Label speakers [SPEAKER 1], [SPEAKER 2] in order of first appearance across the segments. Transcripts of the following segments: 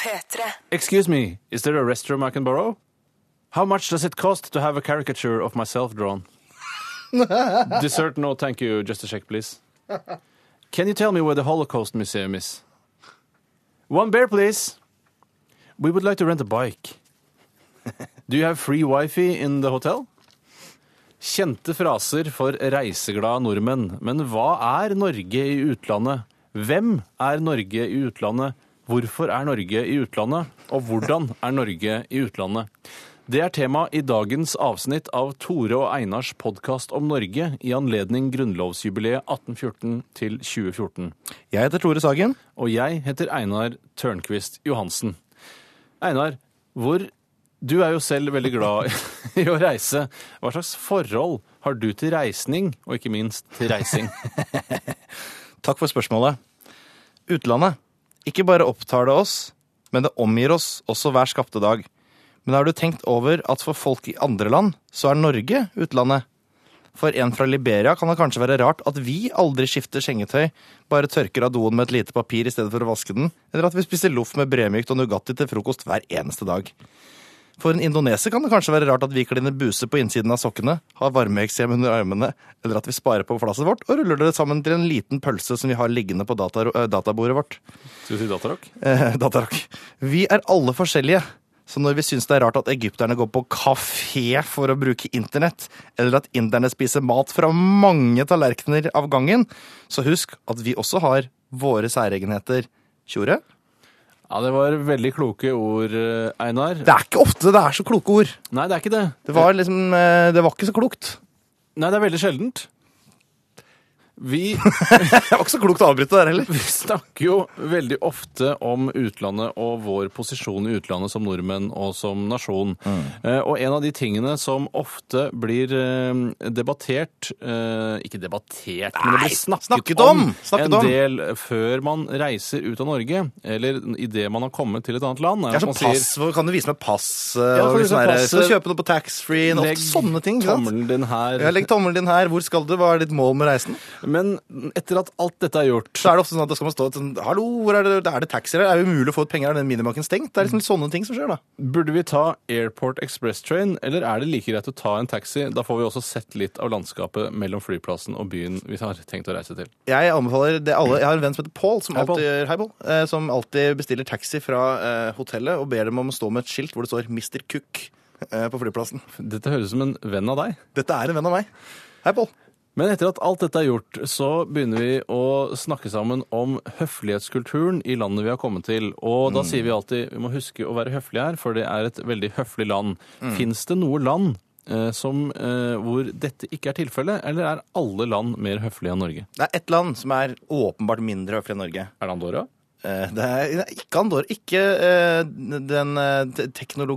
[SPEAKER 1] P3.
[SPEAKER 2] Excuse me, is there a restroom I can borrow? How much does it cost to have a caricature of myself drawn? Dessert, no thank you. Just a check, please. Can you tell me where the Holocaust Museum is? One beer, please. We would like to rent a bike. Do you have free wifi in the hotel? Kjente fraser for reiseglade nordmenn. Men hva er Norge i utlandet? Hvem er Norge i utlandet? Hvorfor er Norge i utlandet? Og hvordan er Norge i utlandet? Det er tema i dagens avsnitt av Tore og Einars podkast om Norge i anledning grunnlovsjubileet 1814 til 2014.
[SPEAKER 3] Jeg heter Tore Sagen.
[SPEAKER 2] Og jeg heter Einar Tørnquist Johansen. Einar, hvor Du er jo selv veldig glad i å reise. Hva slags forhold har du til reisning, og ikke minst til reising?
[SPEAKER 3] Takk for spørsmålet. Utlandet. Ikke bare opptar det oss, men det omgir oss også hver skapte dag. Men har du tenkt over at for folk i andre land, så er Norge utlandet? For en fra Liberia kan det kanskje være rart at vi aldri skifter sengetøy, bare tørker av doen med et lite papir i stedet for å vaske den, eller at vi spiser loff med brødmykt og Nugatti til frokost hver eneste dag. For en indoneser kan det kanskje være rart at vi kliner buse på innsiden av sokkene, har varmeeksem under armene, eller at vi sparer på flasset vårt og ruller det sammen til en liten pølse som vi har liggende på data, eh, databordet vårt.
[SPEAKER 2] Skal vi si datarock?
[SPEAKER 3] Eh, datarock. Vi er alle forskjellige. Så når vi syns det er rart at egypterne går på kafé for å bruke internett, eller at inderne spiser mat fra mange tallerkener av gangen, så husk at vi også har våre særegenheter. Tjore?
[SPEAKER 2] Ja, det var veldig kloke ord, eh, Einar.
[SPEAKER 3] Det er ikke ofte det er så kloke ord.
[SPEAKER 2] Nei, det er ikke det.
[SPEAKER 3] Det var liksom eh, Det var ikke så klokt.
[SPEAKER 2] Nei, det er veldig sjeldent. Vi
[SPEAKER 3] Det var ikke så klokt å avbryte der heller.
[SPEAKER 2] Vi snakker jo veldig ofte om utlandet og vår posisjon i utlandet som nordmenn og som nasjon.
[SPEAKER 3] Mm.
[SPEAKER 2] Eh, og en av de tingene som ofte blir eh, debattert eh, Ikke debattert, men det
[SPEAKER 3] Nei,
[SPEAKER 2] blir snakket,
[SPEAKER 3] snakket
[SPEAKER 2] om,
[SPEAKER 3] om, snakket
[SPEAKER 2] en
[SPEAKER 3] om.
[SPEAKER 2] del før man reiser ut av Norge, eller idet man har kommet til et annet land. er
[SPEAKER 3] Det er
[SPEAKER 2] at
[SPEAKER 3] sånn
[SPEAKER 2] man sier,
[SPEAKER 3] pass, hvor Kan du vise meg pass? eh,
[SPEAKER 2] Ja, for det
[SPEAKER 3] og
[SPEAKER 2] er
[SPEAKER 3] liksom
[SPEAKER 2] sånn
[SPEAKER 3] der,
[SPEAKER 2] pass,
[SPEAKER 3] Skal du kjøpe noe på taxfree? Ofte Sånne ting. ikke sant?
[SPEAKER 2] Tommelen din her.
[SPEAKER 3] Ja, Legg tommelen din her. Hvor skal du? Hva er ditt mål med reisen?
[SPEAKER 2] Men etter at alt dette er gjort
[SPEAKER 3] så er det ofte sånn at da skal man stå et sånn Hallo, hvor er det, er det taxier her? Er det umulig å få ut penger? Er den minibanken stengt? Det er liksom sånne ting som skjer, da.
[SPEAKER 2] Burde vi ta Airport Express Train, eller er det like greit å ta en taxi? Da får vi også sett litt av landskapet mellom flyplassen og byen vi har tenkt å reise til.
[SPEAKER 3] Jeg anbefaler det alle Jeg har en venn som heter Paul, som,
[SPEAKER 2] Hei, Paul.
[SPEAKER 3] alltid, Hei, Paul, eh, som alltid bestiller taxi fra eh, hotellet og ber dem om å stå med et skilt hvor det står 'Mr. Cook' eh, på flyplassen.
[SPEAKER 2] Dette høres ut som en venn av deg.
[SPEAKER 3] Dette er en venn av meg. Hei, Paul.
[SPEAKER 2] Men etter at alt dette er gjort, så begynner vi å snakke sammen om høflighetskulturen i landet vi har kommet til. Og da sier vi alltid vi må huske å være høflige her, for det er et veldig høflig land. Finnes Fins det noe land eh, som, eh, hvor dette ikke er tilfellet, eller er alle land mer høflige enn Norge?
[SPEAKER 3] Det er ett land som er åpenbart mindre høflig enn Norge.
[SPEAKER 2] Er det Andorra?
[SPEAKER 3] Eh, Det er det er ikke Andorra. Ikke eh, den eh, te-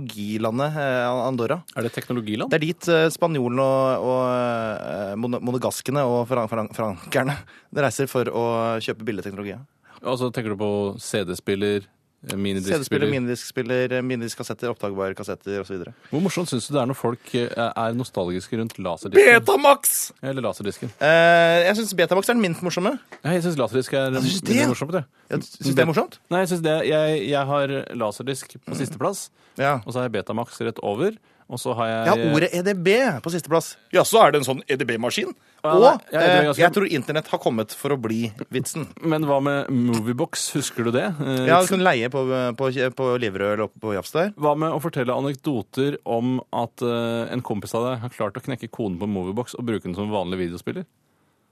[SPEAKER 3] teknologilandet eh, Andorra.
[SPEAKER 2] Er det et teknologiland?
[SPEAKER 3] Det er dit eh, spanjolene og, og eh, mon- monegaskene og fran fran frankerne reiser for å kjøpe billedteknologi. ja.
[SPEAKER 2] Altså, tenker du på eh, CD-spiller,
[SPEAKER 3] CD-spiller,
[SPEAKER 2] minidisk-spiller?
[SPEAKER 3] minidiskspiller, minidisk-kassetter, oppdagbare kassetter osv.
[SPEAKER 2] Hvor morsomt syns du det er når folk eh, er nostalgiske rundt laserdisken?
[SPEAKER 3] Betamax!
[SPEAKER 2] Eller laserdisken.
[SPEAKER 3] Eh, jeg syns Betamax er den minst morsomme.
[SPEAKER 2] Nei, jeg syns laserdisk er
[SPEAKER 3] synes det,
[SPEAKER 2] mindre
[SPEAKER 3] ja.
[SPEAKER 2] morsomt. jeg.
[SPEAKER 3] Jeg synes det er morsomt.
[SPEAKER 2] Nei, jeg syns det. Jeg, jeg har laserdisk på sisteplass,
[SPEAKER 3] Ja.
[SPEAKER 2] og så har jeg Betamax rett over. Og så har jeg
[SPEAKER 3] Jeg har ordet EDB på sisteplass. Ja, så er det en sånn EDB-maskin.
[SPEAKER 2] Ja,
[SPEAKER 3] Og
[SPEAKER 2] nei, ja, det er
[SPEAKER 3] eh,
[SPEAKER 2] ganske-
[SPEAKER 3] jeg tror internett har kommet for å bli vitsen.
[SPEAKER 2] Men hva med Moviebox? Husker du det? Eh,
[SPEAKER 3] Ja, altså- du kan leie på, på, på Liverød eller oppe på Jafs der.
[SPEAKER 2] Hva med å fortelle anekdoter om at eh, en kompis av deg har klart å knekke koden på Moviebox og bruke den som vanlig videospiller?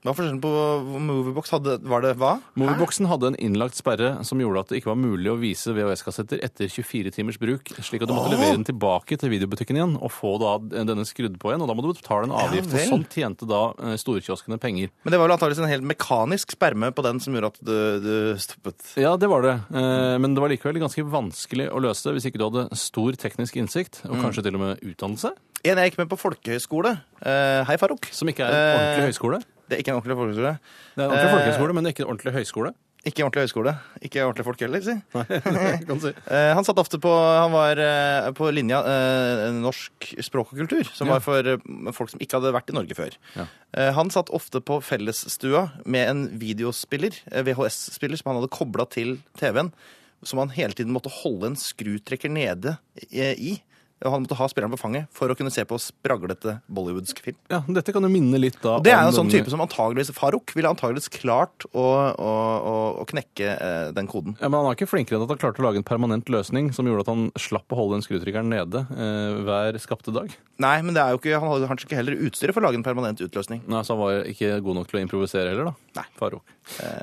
[SPEAKER 3] Hva er forskjellen på Moviebox? Hadde, var det hva?
[SPEAKER 2] Movieboxen hadde en innlagt sperre som gjorde at det ikke var mulig å vise VHS-kassetter etter 24 timers bruk, slik at du måtte levere den tilbake til videobutikken igjen og få da denne skrudd på igjen. Og da må du betale en avgift.
[SPEAKER 3] vel.
[SPEAKER 2] og sånn tjente da eh, storkioskene penger.
[SPEAKER 3] Men det var vel antakeligvis en helt mekanisk sperme på den som gjorde at du, du stoppet.
[SPEAKER 2] Ja, det var det. Eh, Men det var likevel ganske vanskelig å løse det hvis ikke du hadde stor teknisk innsikt, og
[SPEAKER 3] Mm.
[SPEAKER 2] kanskje til og med utdannelse,
[SPEAKER 3] En jeg gikk med på folkehøyskole. Eh, hei, Farouk.
[SPEAKER 2] som ikke er en
[SPEAKER 3] Eh,
[SPEAKER 2] ordentlig høyskole.
[SPEAKER 3] Det er ikke en ordentlig folkehøyskole.
[SPEAKER 2] Det er en ordentlig
[SPEAKER 3] eh,
[SPEAKER 2] folkehøyskole, men ikke en ordentlig høyskole.
[SPEAKER 3] Ikke en ordentlig høyskole. Ikke ordentlig folk heller, si.
[SPEAKER 2] Kan du si.
[SPEAKER 3] Eh, han satt ofte på Han var eh, på linja eh, norsk språk og kultur, som
[SPEAKER 2] Ja.
[SPEAKER 3] var for eh, folk som ikke hadde vært i Norge før.
[SPEAKER 2] Ja.
[SPEAKER 3] Eh, han satt ofte på fellesstua med en videospiller, eh, VHS-spiller, som han hadde kobla til TV-en. som han hele tiden måtte holde en skrutrekker nede eh, i. Og han måtte ha spilleren på fanget for å kunne se på spraglete bollywoodsk film.
[SPEAKER 2] Ja, Dette kan jo minne litt da
[SPEAKER 3] Det er jo en
[SPEAKER 2] om
[SPEAKER 3] sånn
[SPEAKER 2] den-
[SPEAKER 3] type som antageligvis Farouk ville antageligvis klart å, å, å, å knekke eh, den koden.
[SPEAKER 2] Ja, men Han var ikke flinkere enn at han klarte å lage en permanent løsning som gjorde at han slapp å holde den skrutrykkeren nede eh, hver skapte dag.
[SPEAKER 3] Nei, men det er jo ikke, han hadde kanskje ikke heller utstyret for å lage en permanent utløsning.
[SPEAKER 2] Nei, Så han var ikke god nok til å improvisere heller, da.
[SPEAKER 3] Nei.
[SPEAKER 2] Farouk.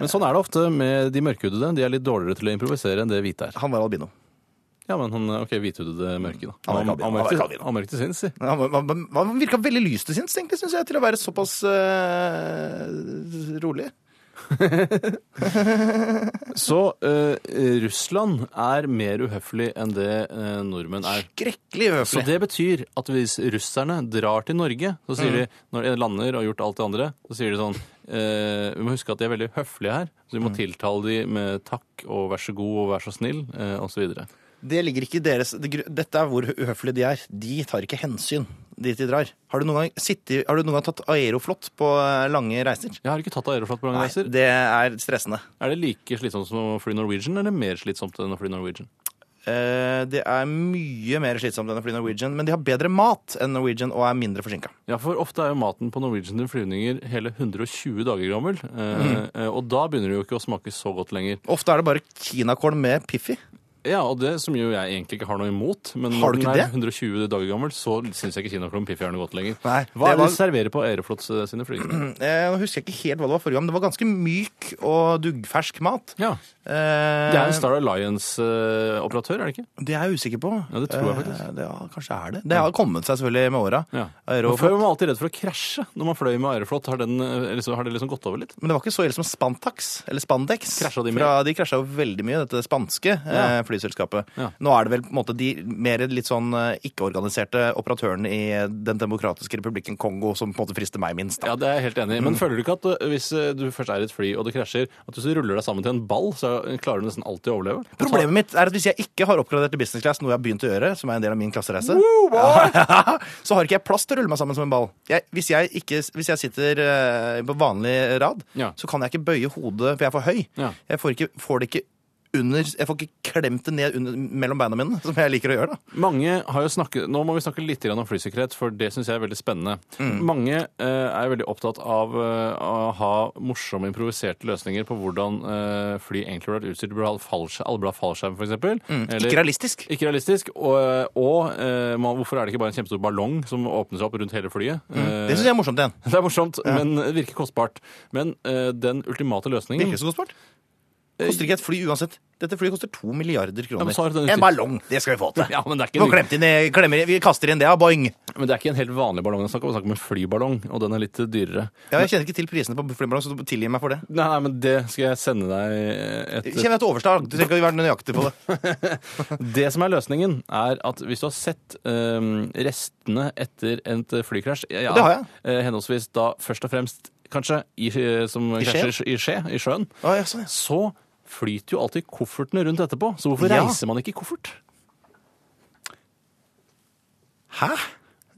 [SPEAKER 2] Men sånn er det ofte med de mørkhudede. De er litt dårligere til å improvisere enn det hvite er.
[SPEAKER 3] Han var albino.
[SPEAKER 2] Ja, men han, ok, hvithudede mørke, da.
[SPEAKER 3] Han var ikke albino, han var ikke albino.
[SPEAKER 2] han var ikke til sinns, si.
[SPEAKER 3] Han, var- han, han virka veldig lys til sinns, egentlig, syns jeg, til å være såpass eh, rolig.
[SPEAKER 2] Så eh, Russland er mer uhøflig enn det eh, nordmenn er.
[SPEAKER 3] Skrekkelig
[SPEAKER 2] Så
[SPEAKER 3] høflig.
[SPEAKER 2] det betyr at hvis russerne drar til Norge, så sier de når de lander og har gjort alt det andre, så sier de sånn eh, Vi må huske at de er veldig høflige her, så vi må tiltale de med takk og vær så god og vær så snill eh, osv.
[SPEAKER 3] Det ligger ikke i deres det gru- Dette er hvor uhøflige de er. De tar ikke hensyn dit de drar. Har du noen gang, sittet, har du noen gang tatt aeroflot på eh, lange reiser?
[SPEAKER 2] Jeg har ikke tatt aeroflot på lange
[SPEAKER 3] Nei,
[SPEAKER 2] reiser.
[SPEAKER 3] det er stressende.
[SPEAKER 2] Er det like slitsomt som å fly Norwegian, eller mer slitsomt enn å fly Norwegian?
[SPEAKER 3] Eh, Det er mye mer slitsomt enn å fly Norwegian, men de har bedre mat enn Norwegian og er mindre forsinka.
[SPEAKER 2] Ja, for ofte er jo maten på Norwegian sine flyvninger hele 120 dager gammel. eh, eh, Og da begynner det jo ikke å smake så godt lenger.
[SPEAKER 3] Ofte er det bare kinakål med Piffi.
[SPEAKER 2] Ja, og det som jo jeg egentlig ikke har noe imot, men når
[SPEAKER 3] Har du
[SPEAKER 2] den
[SPEAKER 3] ikke
[SPEAKER 2] er
[SPEAKER 3] det?
[SPEAKER 2] 120 dager gammel, så syns jeg ikke kinaklom Piffi er noe godt lenger.
[SPEAKER 3] Nei,
[SPEAKER 2] Hva
[SPEAKER 3] det
[SPEAKER 2] er det
[SPEAKER 3] var-
[SPEAKER 2] de serverer på Aeroflot eh, sine flygninger?
[SPEAKER 3] Eh, Nå husker jeg ikke helt hva det var forrige gang, men det var ganske myk og duggfersk mat.
[SPEAKER 2] Ja,
[SPEAKER 3] Eh,
[SPEAKER 2] Det er en Star Alliance-operatør, er det ikke?
[SPEAKER 3] det er jeg usikker på.
[SPEAKER 2] Ja, det tror jeg faktisk.
[SPEAKER 3] Eh, det- ja, kanskje er det. Det har kommet seg selvfølgelig med åra. Eh,
[SPEAKER 2] Ja. Men
[SPEAKER 3] Aeroflot.
[SPEAKER 2] Før var man alltid redd for å krasje når man fløy med Aeroflot. Har, den, eh, liksom, har det liksom gått over litt?
[SPEAKER 3] Men det var ikke så ille som Spantax, eller Spandex.
[SPEAKER 2] Krasja de mye?
[SPEAKER 3] Fra, de krasja jo veldig mye, dette spanske eh, flyselskapet.
[SPEAKER 2] Ja.
[SPEAKER 3] Nå er det vel på en måte de mer litt sånn eh, ikke-organiserte operatørene i Den demokratiske republikken Kongo som på en måte frister meg minst. Da.
[SPEAKER 2] Ja, det er jeg helt enig i. Men føler du ikke at eh, hvis eh, du først er i et fly og det krasjer, at hvis du ruller deg sammen til en ball, så klarer du nesten alltid å overleve?
[SPEAKER 3] Problemet mitt er at hvis jeg ikke har oppgradert til business class, noe jeg har begynt å gjøre, som er en del av min klassereise, så har ikke jeg plass til å rulle meg sammen som en ball. Jeg, hvis, jeg ikke, hvis jeg sitter eh, på vanlig rad,
[SPEAKER 2] Ja.
[SPEAKER 3] så kan jeg ikke bøye hodet, for jeg er for høy.
[SPEAKER 2] Ja.
[SPEAKER 3] Jeg får, ikke, får det ikke under, jeg får ikke klemt det ned under, mellom beina mine, som jeg liker å gjøre. da.
[SPEAKER 2] Mange har jo snakket, Nå må vi snakke litt grann om flysikkerhet, for det syns jeg er veldig spennende.
[SPEAKER 3] Mm.
[SPEAKER 2] Mange eh, er veldig opptatt av eh, å ha morsomme, improviserte løsninger på hvordan eh, fly egentlig burde vært utstyrt. Det Burde ha fallskjerm, alle burde ha fallskjerm, f.eks.
[SPEAKER 3] Mm. Ikke realistisk.
[SPEAKER 2] Ikke realistisk. Og, og eh, man, hvorfor er det ikke bare en kjempestor ballong som åpner seg opp rundt hele flyet?
[SPEAKER 3] Mm.
[SPEAKER 2] Eh,
[SPEAKER 3] Det syns jeg er morsomt igjen.
[SPEAKER 2] det er morsomt, men det virker kostbart. Men eh, den ultimate løsningen
[SPEAKER 3] Virker så kostbart. Koster ikke et fly uansett. Dette flyet koster to milliarder
[SPEAKER 2] Eh, Ja,
[SPEAKER 3] kroner.
[SPEAKER 2] men så har du den
[SPEAKER 3] en
[SPEAKER 2] utstyr-
[SPEAKER 3] ballong! Det skal vi få til.
[SPEAKER 2] Ja, men det er
[SPEAKER 3] Vi
[SPEAKER 2] ikke
[SPEAKER 3] får
[SPEAKER 2] en
[SPEAKER 3] klemt inn, i- klemmer, vi kaster inn det, ja, boing!
[SPEAKER 2] Men det er ikke en helt vanlig ballong. Det er snakk om- det er snakk om en flyballong, og den er litt dyrere.
[SPEAKER 3] Ja, jeg kjenner ikke til prisene på flyballong, så du tilgi meg for det.
[SPEAKER 2] Nei, nei, men det skal jeg sende deg eh, et
[SPEAKER 3] Kjenner jeg til overslag. Du trenger ikke å være nøyaktig på det.
[SPEAKER 2] Det som er løsningen, er at hvis du har sett øhm, restene etter et flykrasj ja,
[SPEAKER 3] Det har jeg.
[SPEAKER 2] eh, Henholdsvis da først og fremst kanskje i, eh, som
[SPEAKER 3] I skje?
[SPEAKER 2] krasjer i skje, i sjøen,
[SPEAKER 3] Å, ja, sånn, ja.
[SPEAKER 2] så flyter jo alltid koffertene rundt etterpå. Så hvorfor
[SPEAKER 3] Ja.
[SPEAKER 2] reiser man ikke i koffert?
[SPEAKER 3] Hæ?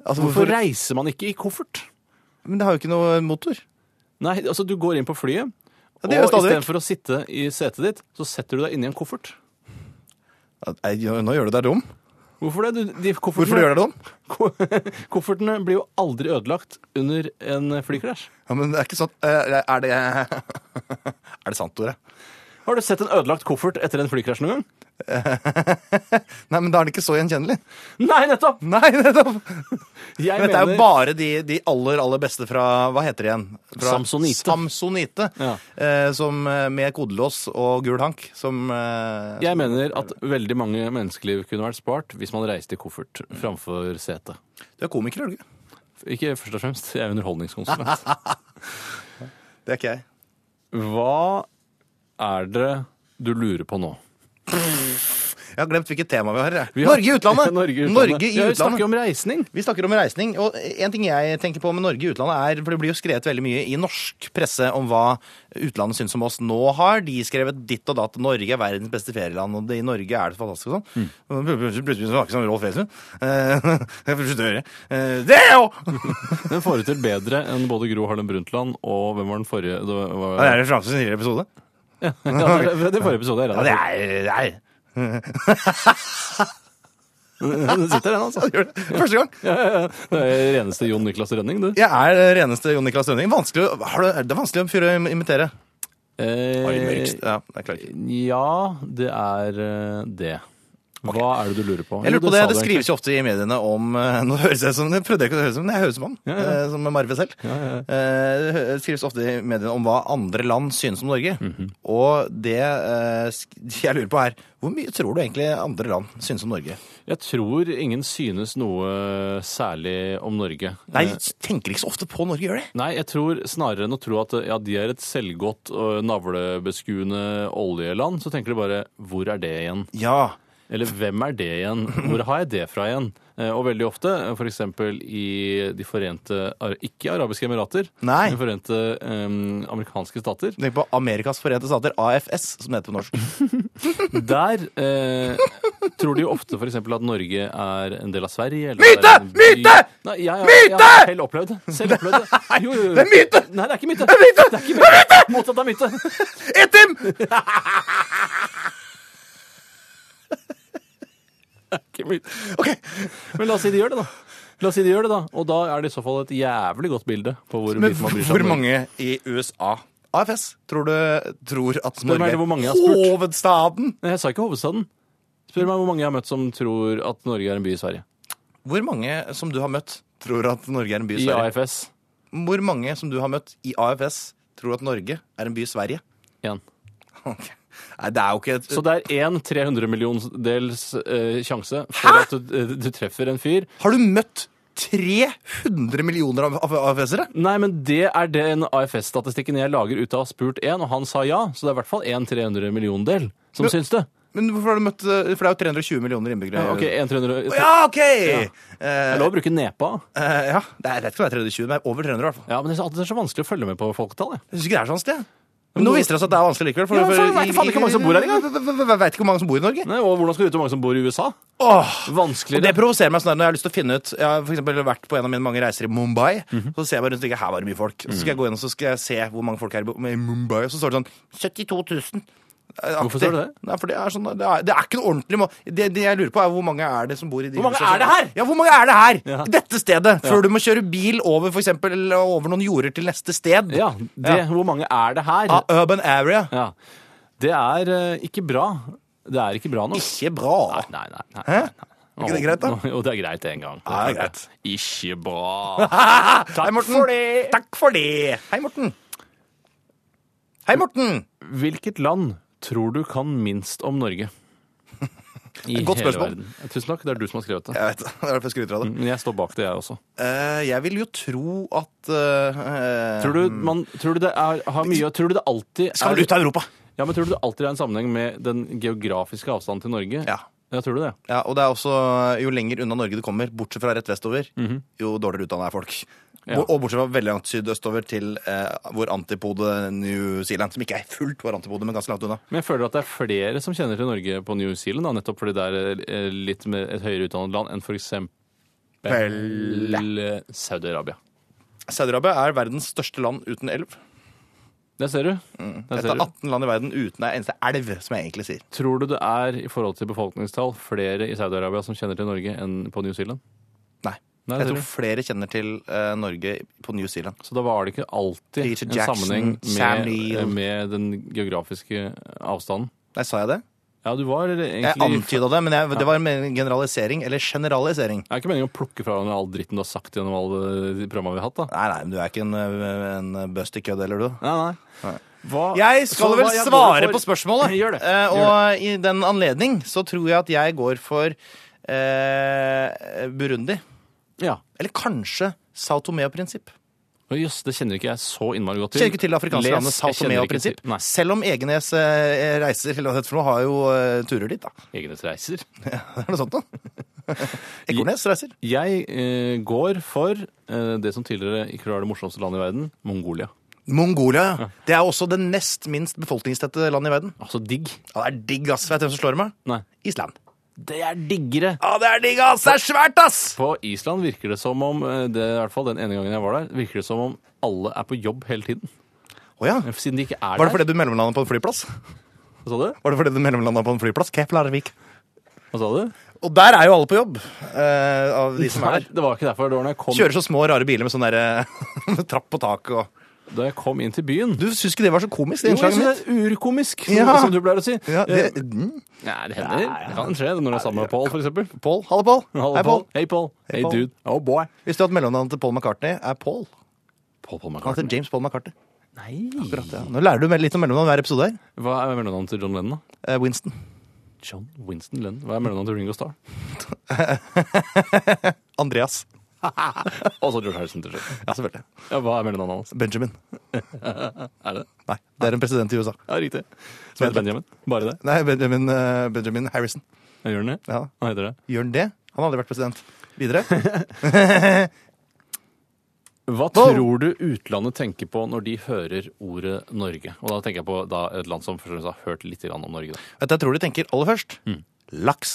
[SPEAKER 3] Altså,
[SPEAKER 2] Hvorfor
[SPEAKER 3] hvorfor?
[SPEAKER 2] reiser man ikke i koffert?
[SPEAKER 3] Men det har jo ikke noe motor.
[SPEAKER 2] Nei, altså du går inn på flyet,
[SPEAKER 3] Ja,
[SPEAKER 2] og
[SPEAKER 3] det gjør jeg stadig vekk.
[SPEAKER 2] istedenfor å sitte i setet ditt, så setter du deg inni en koffert.
[SPEAKER 3] Ja, nei, Nå gjør du deg dum.
[SPEAKER 2] Hvorfor det? Du- De
[SPEAKER 3] Hvorfor
[SPEAKER 2] koffertene,
[SPEAKER 3] gjør du deg dum?
[SPEAKER 2] koffertene blir jo aldri ødelagt under en flykrasj.
[SPEAKER 3] Ja, men det er ikke sånn eh, Er det Er det sant, Tore?
[SPEAKER 2] Har du sett en ødelagt koffert etter en flykrasj noen gang?
[SPEAKER 3] Nei, men da er det ikke så gjenkjennelig.
[SPEAKER 2] Nei, nettopp!
[SPEAKER 3] Nei, nettopp!
[SPEAKER 2] Jeg
[SPEAKER 3] Men Dette er
[SPEAKER 2] mener-
[SPEAKER 3] jo bare de, de aller, aller beste fra Hva heter det igjen? Fra
[SPEAKER 2] Samsonite.
[SPEAKER 3] Samsonite,
[SPEAKER 2] Ja.
[SPEAKER 3] eh, som, eh, med kodelås og gul hank. Som eh,
[SPEAKER 2] jeg mener at veldig mange menneskeliv kunne vært spart hvis man reiste i koffert framfor sete.
[SPEAKER 3] Du er komiker, er du ikke?
[SPEAKER 2] Ikke først og fremst, jeg er underholdningskonsulent.
[SPEAKER 3] Det er ikke jeg.
[SPEAKER 2] Hva er det du lurer på nå?
[SPEAKER 3] Jeg har glemt hvilket tema vi har her. jeg.
[SPEAKER 2] Vi har-
[SPEAKER 3] Norge i utlandet!
[SPEAKER 2] Norge i utlandet.
[SPEAKER 3] Norge i
[SPEAKER 2] Ja, vi
[SPEAKER 3] utlandet.
[SPEAKER 2] snakker om reisning.
[SPEAKER 3] Vi snakker om reisning, og en ting jeg tenker på med Norge i utlandet er, for det blir jo skrevet veldig mye i norsk presse om hva utlandet syns om oss. Nå har de skrevet ditt og datt, Norge er verdens beste ferieland, og det, i Norge er det fantastisk og
[SPEAKER 2] Mm.
[SPEAKER 3] sånn. Og Plutselig plutselig snakker som Rolf Wesenlund. Eh, Jeg får slutte å høre. Eh, Det er jo!
[SPEAKER 2] Den får det til bedre enn både Gro Harlem Brundtland og hvem var den forrige? Det var,
[SPEAKER 3] Ja, Det er det Framsøs nye episode.
[SPEAKER 2] ja, det er- det er forrige episode. Jeg
[SPEAKER 3] Ja, det
[SPEAKER 2] regner med.
[SPEAKER 3] er, det er.
[SPEAKER 2] Den sitter, den, altså.
[SPEAKER 3] Gjør det. Første gang.
[SPEAKER 2] Ja, ja, ja. Det er reneste Jon Niklas Rønning, du.
[SPEAKER 3] Jeg er det reneste Jon Niklas Rønning. Vanskelig, å- har du, det er vanskelig å fyre im- imitere. Oi, mørkst.
[SPEAKER 2] Eh,
[SPEAKER 3] Ja, jeg klarer ikke.
[SPEAKER 2] ja, det er eh, det. Hva er det du lurer på?
[SPEAKER 3] Jeg
[SPEAKER 2] Jo,
[SPEAKER 3] lurer på
[SPEAKER 2] sa du
[SPEAKER 3] det, det
[SPEAKER 2] egentlig.
[SPEAKER 3] skrives jo ofte i mediene om eh, Nå høres jeg som, det prøvde jeg ikke å høre som, men jeg høres som han,
[SPEAKER 2] Ja, ja.
[SPEAKER 3] eh, som Marve selv. Eh, Det hø- skrives ofte i mediene om hva andre land synes om Norge.
[SPEAKER 2] Mhm.
[SPEAKER 3] Og det eh, sk- jeg lurer på er, hvor mye tror du egentlig andre land synes om Norge?
[SPEAKER 2] Jeg tror ingen synes noe særlig om Norge.
[SPEAKER 3] Nei,
[SPEAKER 2] Eh,
[SPEAKER 3] de tenker ikke så ofte på Norge, gjør de?
[SPEAKER 2] Nei, jeg tror snarere enn å tro at eh, ja, de er et selvgodt, og navlebeskuende oljeland, så tenker de bare 'hvor er det igjen'?
[SPEAKER 3] Ja.
[SPEAKER 2] Eller hvem er det igjen? Hvor har jeg det fra igjen? Eh, Og veldig ofte, f.eks. i De forente ar- ikke arabiske emirater,
[SPEAKER 3] Nei.
[SPEAKER 2] De forente eh, amerikanske stater.
[SPEAKER 3] Tenk på Amerikas forente stater, AFS, som det heter på norsk.
[SPEAKER 2] Der eh, tror de jo ofte f.eks. at Norge er en del av Sverige. Eller
[SPEAKER 3] Myte!
[SPEAKER 2] er en by-
[SPEAKER 3] Myte!
[SPEAKER 2] Nei, jeg, jeg, jeg, har selv opplevd det. Selv opplevd det. Jo, jo, jo.
[SPEAKER 3] Det er myte!
[SPEAKER 2] Nei, det er ikke myte. Det er myte! Det er ikke myte. Motsatt av myte.
[SPEAKER 3] Et dem!
[SPEAKER 2] Ikke myte. Men la oss si de gjør det, da. La oss si de gjør det, da. Og da er det i så fall et jævlig godt bilde på hvor
[SPEAKER 3] Men
[SPEAKER 2] mye man bryr seg
[SPEAKER 3] hvor
[SPEAKER 2] om Norge.
[SPEAKER 3] mange i USA? AFS tror du tror at
[SPEAKER 2] meg
[SPEAKER 3] Norge
[SPEAKER 2] hvor mange jeg har spurt.
[SPEAKER 3] hovedstaden?
[SPEAKER 2] Nei, jeg sa ikke hovedstaden. Spør meg hvor mange jeg har møtt som tror at Norge er en by i Sverige.
[SPEAKER 3] Hvor mange som du har møtt, tror at Norge er en by i
[SPEAKER 2] I
[SPEAKER 3] Sverige?
[SPEAKER 2] AFS.
[SPEAKER 3] Hvor mange som du har møtt i AFS, tror at Norge er en by i Sverige?
[SPEAKER 2] Én.
[SPEAKER 3] Ok. Nei, det er jo ikke et
[SPEAKER 2] Så det er én 300 millionsdels eh, sjanse for at du, eh, du treffer en fyr.
[SPEAKER 3] Har du møtt 300 millioner av- av AFS-ere?
[SPEAKER 2] Nei, men det er den AFS-statistikken jeg lager ut av å ha spurt én, og han sa ja. Så det er i hvert fall én 300 million-del som syns det.
[SPEAKER 3] Men hvorfor har du møtt eh, For det er jo 320 millioner innbyggere.
[SPEAKER 2] Ja, ok, en 300...
[SPEAKER 3] Å, ja, ok!
[SPEAKER 2] Det
[SPEAKER 3] Eh,
[SPEAKER 2] er lov å bruke nepa.
[SPEAKER 3] eh, ja. Det er, jeg vet ikke om det er 320, men det er over 300 i hvert fall.
[SPEAKER 2] Ja, men det er så- det er så vanskelig å følge med på folketall. jeg.
[SPEAKER 3] Jeg syns ikke det er sånn sted. Men nå viser det seg at det er vanskelig
[SPEAKER 2] Ja,
[SPEAKER 3] likevel.
[SPEAKER 2] for jeg vet ikke faen ikke hvor mange som bor her engang.
[SPEAKER 3] Jeg vet ikke hvor mange som bor i Norge.
[SPEAKER 2] Nei, og hvordan skal du vite hvor mange som bor i USA?
[SPEAKER 3] Åh, og det
[SPEAKER 2] Vanskeligere.
[SPEAKER 3] provoserer meg sånn der når jeg har lyst til å finne ut Jeg har for eksempel vært på en av mine mange reiser i Mumbai.
[SPEAKER 2] Mhm.
[SPEAKER 3] Så ser jeg bare rundt og tenker her var det mye folk. Så skal jeg gå inn og så skal jeg se hvor mange folk er i Bo- i Mumbai, og så står det sånn 72 000. eh,
[SPEAKER 2] Hvorfor
[SPEAKER 3] aktig.
[SPEAKER 2] står det
[SPEAKER 3] Nei, for det er, sånn, det, er, det er ikke noe ordentlig må det, det jeg lurer på, er hvor mange er det som bor i de
[SPEAKER 2] Hvor mange
[SPEAKER 3] husene?
[SPEAKER 2] er det her?
[SPEAKER 3] Ja, hvor mange er det her?
[SPEAKER 2] Ja.
[SPEAKER 3] Dette stedet. Før du må kjøre bil over for eksempel, over noen jorder til neste sted.
[SPEAKER 2] Ja, det, Hvor mange er det her?
[SPEAKER 3] Ah, Urban area.
[SPEAKER 2] Ja. Det er eh, ikke bra. Det er ikke bra nok.
[SPEAKER 3] Ikke bra.
[SPEAKER 2] Nei, nei, nei.
[SPEAKER 3] Hæ?
[SPEAKER 2] Er
[SPEAKER 3] ikke det greit, da? Ah.
[SPEAKER 2] Jo, det er greit en gang.
[SPEAKER 3] Ja, det er greit.
[SPEAKER 2] Ikke bra.
[SPEAKER 3] Hei, Morten.
[SPEAKER 2] for det.
[SPEAKER 3] Takk for det. Hei, Morten. Hei, Morten.
[SPEAKER 2] Hvilket land tror du kan minst om Norge? I
[SPEAKER 3] Godt
[SPEAKER 2] hele
[SPEAKER 3] spørsmål.
[SPEAKER 2] verden. Eh, Tusen takk, det er du som har skrevet det.
[SPEAKER 3] Jeg vet det. Det er derfor jeg skryter av det.
[SPEAKER 2] Men jeg står bak det, jeg også.
[SPEAKER 3] Eh, jeg vil jo tro at eh,
[SPEAKER 2] Tror du, man, tror du det er, har mye Tror du det alltid
[SPEAKER 3] Skal vel
[SPEAKER 2] er,
[SPEAKER 3] ut av Europa.
[SPEAKER 2] ja, men tror du det alltid er en sammenheng med den geografiske avstanden til Norge?
[SPEAKER 3] Ja.
[SPEAKER 2] Ja, tror du det?
[SPEAKER 3] ja. Og det er også jo lenger unna Norge du kommer, bortsett fra rett vestover, jo dårligere utdanna er folk.
[SPEAKER 2] Ja.
[SPEAKER 3] Bo- Og bortsett fra veldig langt sydøstover til eh, vår antipode New Zealand. Som ikke er fullt vår antipode, men ganske langt unna.
[SPEAKER 2] Men jeg føler at det er flere som kjenner til Norge på New Zealand, da, nettopp fordi det er eh, litt mer et høyere utdannet land enn for eksempel eh, Saudi-Arabia.
[SPEAKER 3] Saudi-Arabia er verdens største land uten elv.
[SPEAKER 2] Der ser du. Der
[SPEAKER 3] Et av
[SPEAKER 2] ser du.
[SPEAKER 3] 18 land i verden uten ei eneste elv, som jeg egentlig sier.
[SPEAKER 2] Tror du det er, i forhold til befolkningstall, flere i Saudi-Arabia som kjenner til Norge enn på New Zealand?
[SPEAKER 3] Nei.
[SPEAKER 2] Nei, det
[SPEAKER 3] Jeg
[SPEAKER 2] ser du.
[SPEAKER 3] tror flere kjenner til eh, Norge på New Zealand.
[SPEAKER 2] Så da var det ikke alltid
[SPEAKER 3] Peter
[SPEAKER 2] en
[SPEAKER 3] Jackson,
[SPEAKER 2] sammenheng
[SPEAKER 3] Sam
[SPEAKER 2] med, eh,
[SPEAKER 3] Neill.
[SPEAKER 2] med den geografiske eh, avstanden.
[SPEAKER 3] Nei, sa jeg det?
[SPEAKER 2] Ja, du var eh,
[SPEAKER 3] Jeg
[SPEAKER 2] egentlig
[SPEAKER 3] antyda det, men jeg, det var en generalisering. Eller generalisering.
[SPEAKER 2] Det er ikke meningen å plukke fra hverandre all dritten du har sagt gjennom alle de programmene vi har hatt, da.
[SPEAKER 3] Nei, nei, men du er ikke en, eh, en busty kødd, eller du?
[SPEAKER 2] Nei, nei. Hva-
[SPEAKER 3] Jeg
[SPEAKER 2] Så
[SPEAKER 3] skal
[SPEAKER 2] hva
[SPEAKER 3] vel
[SPEAKER 2] jeg går
[SPEAKER 3] svare
[SPEAKER 2] for-
[SPEAKER 3] på spørsmålet.
[SPEAKER 2] Gjør det.
[SPEAKER 3] Eh,
[SPEAKER 2] Gjør
[SPEAKER 3] og i den anledning så tror jeg at jeg går for eh, Burundi.
[SPEAKER 2] Ja.
[SPEAKER 3] Eller kanskje Sao Tomeo-prinsipp.
[SPEAKER 2] Å, Jøss, det kjenner ikke jeg så innmari godt til.
[SPEAKER 3] Kjenner ikke til det afrikanske
[SPEAKER 2] Les,
[SPEAKER 3] landet Sao
[SPEAKER 2] jeg kjenner ikke
[SPEAKER 3] Tomeo-prinsipp.
[SPEAKER 2] til- Nei,
[SPEAKER 3] Selv om Egenes eh, reiser eller hva det heter for noe, har jo eh, turer dit, da.
[SPEAKER 2] Egenes reiser.
[SPEAKER 3] Er det sånt noe? Ekornes reiser.
[SPEAKER 2] Jeg eh, går for eh, det som tidligere ikke var det morsomste landet i verden, Mongolia.
[SPEAKER 3] Mongolia, ja. Det er også det nest minst befolkningstette landet i verden.
[SPEAKER 2] Altså digg.
[SPEAKER 3] Ja, det er digg, ass. Vet du hvem som slår meg?
[SPEAKER 2] Nei.
[SPEAKER 3] Island.
[SPEAKER 2] Det er diggere!
[SPEAKER 3] Ja, det er digg, ass! Det er svært, ass!
[SPEAKER 2] På Island virker det som om eh, det er i hvert fall den ene gangen jeg var der, virker det som om alle er på jobb hele tiden.
[SPEAKER 3] Å ja.
[SPEAKER 2] Siden de ikke er
[SPEAKER 3] Var det
[SPEAKER 2] der.
[SPEAKER 3] fordi du mellomlandet på en flyplass?
[SPEAKER 2] Hva sa du?
[SPEAKER 3] Var det fordi du mellomlanda på en flyplass? Keplervik.
[SPEAKER 2] Hva sa du?
[SPEAKER 3] Og der er jo alle på jobb. eh, av de som
[SPEAKER 2] Nei,
[SPEAKER 3] er der.
[SPEAKER 2] det var ikke derfor. Det var når jeg kom,
[SPEAKER 3] Kjører så små, rare biler med sånn derre med trapp på taket og
[SPEAKER 2] da jeg kom inn til byen.
[SPEAKER 3] Du syns ikke det var så komisk,
[SPEAKER 2] Jo,
[SPEAKER 3] det
[SPEAKER 2] jeg
[SPEAKER 3] innslaget mitt?
[SPEAKER 2] synes det er urkomisk, som,
[SPEAKER 3] Ja.
[SPEAKER 2] som du pleier å si.
[SPEAKER 3] Ja, det,
[SPEAKER 2] Eh,
[SPEAKER 3] mm.
[SPEAKER 2] Nei, det hender. Det kan skje når du er sammen med Paul, for eksempel.
[SPEAKER 3] Paul. Hallo, Paul.
[SPEAKER 2] Hallo,
[SPEAKER 3] Hei, Paul.
[SPEAKER 2] Hei, Paul.
[SPEAKER 3] Hei,
[SPEAKER 2] Hey,
[SPEAKER 3] Paul.
[SPEAKER 2] dude. Oh, boy.
[SPEAKER 3] Hvis du hadde mellomnavnet til Paul McCartney, er Paul.
[SPEAKER 2] Paul, Paul
[SPEAKER 3] Han heter
[SPEAKER 2] McCartney.
[SPEAKER 3] James Paul McCartney.
[SPEAKER 2] Nei.
[SPEAKER 3] Akkurat, ja. Nå lærer du mel- litt om mellomnavn hver episode her.
[SPEAKER 2] Hva er mellomnavnet til John Lennon, da?
[SPEAKER 3] Eh, Winston.
[SPEAKER 2] John Winston Lennon. Hva er mellomnavnet til Ringo Starr?
[SPEAKER 3] Andreas.
[SPEAKER 2] Og så George Harrison til slutt.
[SPEAKER 3] Ja, selvfølgelig.
[SPEAKER 2] Ja, hva er mellomnavnet hans?
[SPEAKER 3] Benjamin.
[SPEAKER 2] Er det?
[SPEAKER 3] Nei, det er en president i USA.
[SPEAKER 2] Ja, riktig. Som heter Benjamin. Bare det.
[SPEAKER 3] Nei, Benjamin, eh, Benjamin Harrison.
[SPEAKER 2] Jeg gjør den det.
[SPEAKER 3] Ja.
[SPEAKER 2] Hva heter det?
[SPEAKER 3] Gjør han det? Han har aldri vært president. Videre.
[SPEAKER 2] Hva tror du utlandet tenker på når de hører ordet Norge? Og da tenker jeg på da et land som først og fremst har hørt litt grann om Norge. Da.
[SPEAKER 3] Vet du, jeg tror de tenker aller først Mm. laks.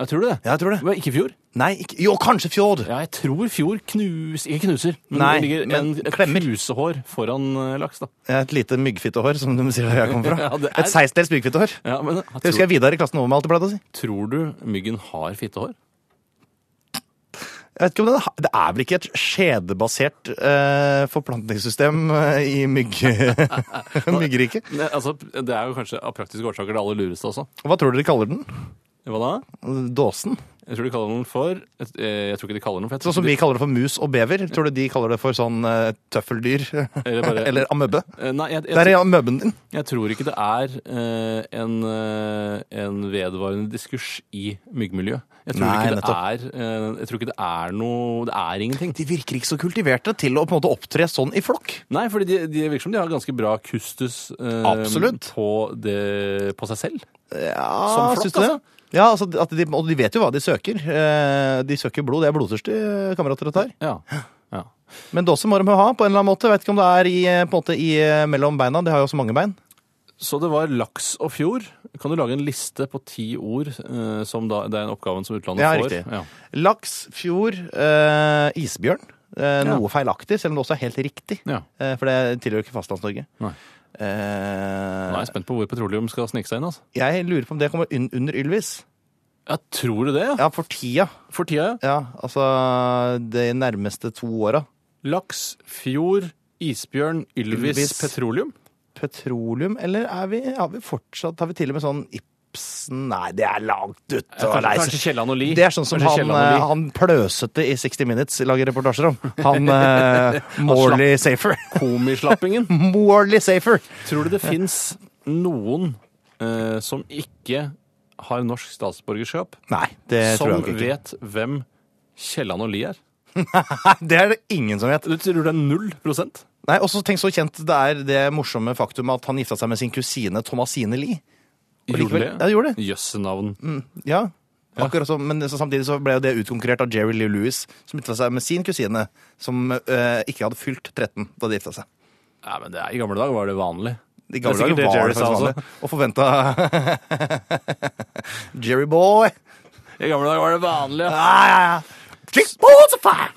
[SPEAKER 2] Jeg tror du det?
[SPEAKER 3] Ja, jeg tror det.
[SPEAKER 2] Men Ikke fjor?
[SPEAKER 3] Nei, ikke Jo, kanskje fjord!
[SPEAKER 2] Ja, jeg tror fjor knus... Ikke knuser, men
[SPEAKER 3] Nei,
[SPEAKER 2] det ligger
[SPEAKER 3] men
[SPEAKER 2] en, et
[SPEAKER 3] klemmer.
[SPEAKER 2] knusehår foran eh, laks, da.
[SPEAKER 3] Et lite myggfittehår, som de sier der jeg kommer fra.
[SPEAKER 2] Ja, det er-
[SPEAKER 3] Et seisdels myggfittehår.
[SPEAKER 2] Ja, men jeg
[SPEAKER 3] Det husker
[SPEAKER 2] tror,
[SPEAKER 3] jeg Vidar i klassen over meg alltid pleide å si.
[SPEAKER 2] tror du myggen har fittehår?
[SPEAKER 3] Jeg vet ikke om det, det er vel ikke et skjedebasert eh, forplantningssystem eh, i mygg, myggriket?
[SPEAKER 2] Ne, altså, det er jo kanskje av praktiske årsaker det aller lureste også.
[SPEAKER 3] Hva tror dere de kaller den?
[SPEAKER 2] Hva da?
[SPEAKER 3] Dåsen?
[SPEAKER 2] Jeg tror de kaller den for et- eh, Jeg tror ikke de kaller den for jeg tror
[SPEAKER 3] Sånn som
[SPEAKER 2] de,
[SPEAKER 3] vi kaller det for mus og bever. Tror du de kaller det for sånn eh, tøffeldyr?
[SPEAKER 2] Eller bare-
[SPEAKER 3] Eller amøbe?
[SPEAKER 2] Eh, Nei, jeg, jeg,
[SPEAKER 3] Det er amøben din.
[SPEAKER 2] Jeg tror ikke det er eh, en, eh, en vedvarende diskurs i myggmiljø. Jeg tror,
[SPEAKER 3] Nei,
[SPEAKER 2] ikke, det er, eh, jeg tror ikke det er noe Det er ingenting.
[SPEAKER 3] De virker ikke så kultiverte til å på en måte opptre sånn i flokk.
[SPEAKER 2] Nei, for de, de virker som de har ganske bra kustus eh,
[SPEAKER 3] Absolutt.
[SPEAKER 2] på, det, på seg selv.
[SPEAKER 3] Ja,
[SPEAKER 2] Som flokk,
[SPEAKER 3] syns Ah, du det? Ja, altså, at de, og de vet jo hva de søker. Eh, De søker blod. Det er blodtørstige kamerater dette her.
[SPEAKER 2] Ja. ja.
[SPEAKER 3] Men dåse må de jo ha på en eller annen måte. Vet ikke om det er i, eh, på en måte, i, eh, mellom beina. De har jo også mange bein.
[SPEAKER 2] Så det var laks og fjord. Kan du lage en liste på ti ord eh, som da, det er en oppgaven som utlandet
[SPEAKER 3] Ja,
[SPEAKER 2] får?
[SPEAKER 3] riktig.
[SPEAKER 2] Ja.
[SPEAKER 3] Laks, fjord, eh, isbjørn. Eh,
[SPEAKER 2] Ja.
[SPEAKER 3] Noe feilaktig, selv om det også er helt riktig.
[SPEAKER 2] Ja.
[SPEAKER 3] Eh, For det tilhører ikke Fastlands-Norge.
[SPEAKER 2] Nei. Nå er
[SPEAKER 3] Eh,
[SPEAKER 2] jeg spent på hvor petroleum skal snike seg inn. altså.
[SPEAKER 3] jeg lurer på om det kommer un under Ylvis.
[SPEAKER 2] Ja, Tror du det? Ja.
[SPEAKER 3] Ja, for tida.
[SPEAKER 2] For tida, ja.
[SPEAKER 3] Ja, altså de nærmeste to åra.
[SPEAKER 2] Laks, fjord, isbjørn, Ylvis,
[SPEAKER 3] Ylvis.
[SPEAKER 2] petroleum.
[SPEAKER 3] Petroleum, eller er vi, har vi fortsatt Har vi til og med sånn Ibsen Nei, det er langt ute.
[SPEAKER 2] Ja,
[SPEAKER 3] og
[SPEAKER 2] Kanskje,
[SPEAKER 3] leise.
[SPEAKER 2] kanskje Kielland og Lie.
[SPEAKER 3] det er sånn som
[SPEAKER 2] Kanskje
[SPEAKER 3] han,
[SPEAKER 2] Kielland og
[SPEAKER 3] eh,
[SPEAKER 2] Lie.
[SPEAKER 3] han pløsete i 60 Minutes lager reportasjer om. Han eh, Morley Safer.
[SPEAKER 2] Komislappingen.
[SPEAKER 3] Morley Safer!
[SPEAKER 2] Tror du det fins noen eh, som ikke har norsk statsborgerskap,
[SPEAKER 3] Nei, det tror
[SPEAKER 2] som
[SPEAKER 3] jeg nok ikke.
[SPEAKER 2] vet hvem Kielland og Lie er?
[SPEAKER 3] Det er det ingen som vet.
[SPEAKER 2] Du tror det er null prosent?
[SPEAKER 3] Nei, Og så tenk så kjent det er det morsomme faktum at han gifta seg med sin kusine Thomasine Lie. Og
[SPEAKER 2] Gjorde
[SPEAKER 3] likevel-
[SPEAKER 2] det?
[SPEAKER 3] Ja, det gjorde det. Mm.
[SPEAKER 2] Jøssenavn.
[SPEAKER 3] Ja, akkurat som, men så samtidig så ble jo det utkonkurrert av Jerry Lee Lewis, som gifta seg med sin kusine, som eh, ikke hadde fylt 13 da de gifta seg.
[SPEAKER 2] Nei, men det er, I gamle dager var det vanlig.
[SPEAKER 3] I
[SPEAKER 2] Det er sikkert det Jerry sa
[SPEAKER 3] faktisk vanlig, Og forventa Jerry boy!
[SPEAKER 2] I gamle dager var det vanlig, ja.
[SPEAKER 3] Ah, ja, ja. Drink balls of fire!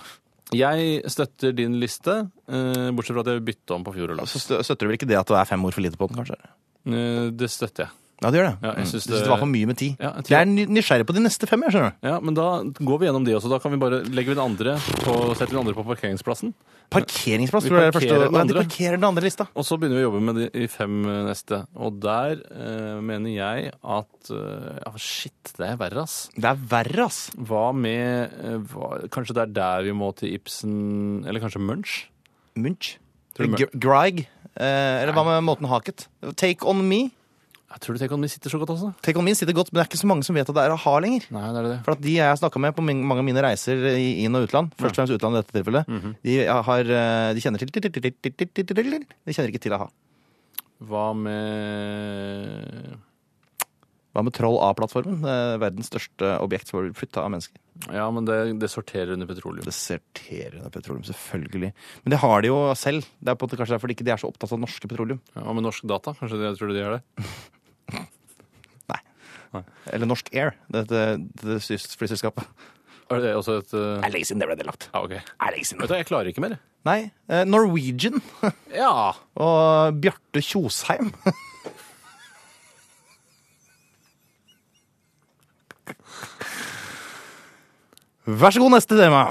[SPEAKER 2] Jeg støtter din liste, eh, bortsett fra at jeg vil bytte om på fjord og laks.
[SPEAKER 3] Så stø- støtter du vel ikke det at det er fem ord for lite på den, kanskje?
[SPEAKER 2] Eh, det støtter jeg.
[SPEAKER 3] Ja, det gjør det.
[SPEAKER 2] Ja, jeg
[SPEAKER 3] Mm.
[SPEAKER 2] synes
[SPEAKER 3] Du synes
[SPEAKER 2] det-
[SPEAKER 3] det var for mye med ti.
[SPEAKER 2] Ja, jeg tror-
[SPEAKER 3] jeg er ny- nysgjerrig på de neste fem, jeg, skjønner du.
[SPEAKER 2] Ja, men da går vi gjennom de også. Da kan vi bare legge vi den andre på, setter vi den andre på parkeringsplassen.
[SPEAKER 3] Parkeringsplass
[SPEAKER 2] Vi
[SPEAKER 3] tror jeg er det
[SPEAKER 2] parkerer den
[SPEAKER 3] første. Ja, de
[SPEAKER 2] andre.
[SPEAKER 3] parkerer den andre lista.
[SPEAKER 2] Og så begynner vi å jobbe med de i fem eh, neste. Og der eh, mener jeg at eh, ja, Shit, det er verre, ass.
[SPEAKER 3] Det er verre, ass.
[SPEAKER 2] Hva med eh, hva, Kanskje det er der vi må til Ibsen Eller kanskje Munch?
[SPEAKER 3] Munch?
[SPEAKER 2] Tror du-
[SPEAKER 3] Gr- Grieg? Eh, eller hva med Måten Haket? Take On Me.
[SPEAKER 2] Jeg tror du tenker om de sitter så godt også?
[SPEAKER 3] Take On Me sitter godt, men det er ikke så mange som vet at det er a-ha lenger.
[SPEAKER 2] Nei, det er det.
[SPEAKER 3] For at de jeg har snakka med på min, mange av mine reiser i inn- og utland, først og fremst utlandet i dette tilfellet, de, har, eh, de kjenner til De kjenner ikke til a-ha.
[SPEAKER 2] Hva med
[SPEAKER 3] Hva med Troll A-plattformen? Eh, Verdens største objekt som blir flytta av mennesker.
[SPEAKER 2] Ja, men det, det sorterer under petroleum.
[SPEAKER 3] Det sorterer under petroleum, selvfølgelig. Men det har de jo selv. Det er på en måte kanskje derfor de ikke de er så opptatt av norske petroleum.
[SPEAKER 2] Ja, Hva med norsk data? Kanskje det, tror du de gjør det?
[SPEAKER 3] Eller Norsk Air, dette, dette flyselskapet.
[SPEAKER 2] Er det også et eh,
[SPEAKER 3] Det er lenge siden det ble delagt.
[SPEAKER 2] Ja, OK.
[SPEAKER 3] Det er lenge siden.
[SPEAKER 2] Vet du, hva, jeg klarer ikke mer.
[SPEAKER 3] Nei, eh, Norwegian
[SPEAKER 2] Ja.
[SPEAKER 3] og Bjarte Tjosheim. Vær så god, neste tema.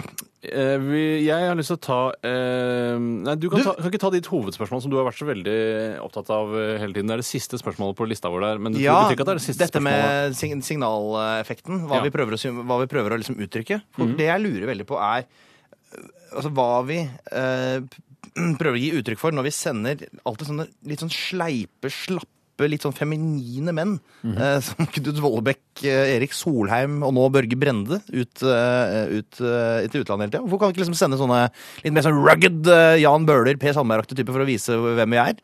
[SPEAKER 2] Eh, vi, jeg har lyst til å ta eh, Nei, du kan,
[SPEAKER 3] Du-
[SPEAKER 2] ta, kan ikke ta ditt hovedspørsmål som du har vært så veldig opptatt av eh, hele tiden. Det er det siste spørsmålet på lista vår der. Men det
[SPEAKER 3] Ja,
[SPEAKER 2] betyr ikke at det er det siste
[SPEAKER 3] dette
[SPEAKER 2] spørsmålet.
[SPEAKER 3] med sign- signaleffekten, hva,
[SPEAKER 2] Ja. Mhm.
[SPEAKER 3] vi prøver å, sy- hva vi prøver å liksom uttrykke. For Det jeg lurer veldig på, er øh, altså, hva vi eh, p- prøver å gi uttrykk for når vi sender alltid sånne litt sånn sleipe, slappe, litt sånn feminine menn,
[SPEAKER 2] Mhm.
[SPEAKER 3] eh, som Knut Vollebekk, eh, Erik Solheim og nå Børge Brende, ut, eh, ut eh, til utlandet hele tida. Hvorfor kan vi ikke liksom sende sånne litt mer sånn rugged eh, Jan Bøhler, Per Sandberg-aktige typer for å vise hvem vi er?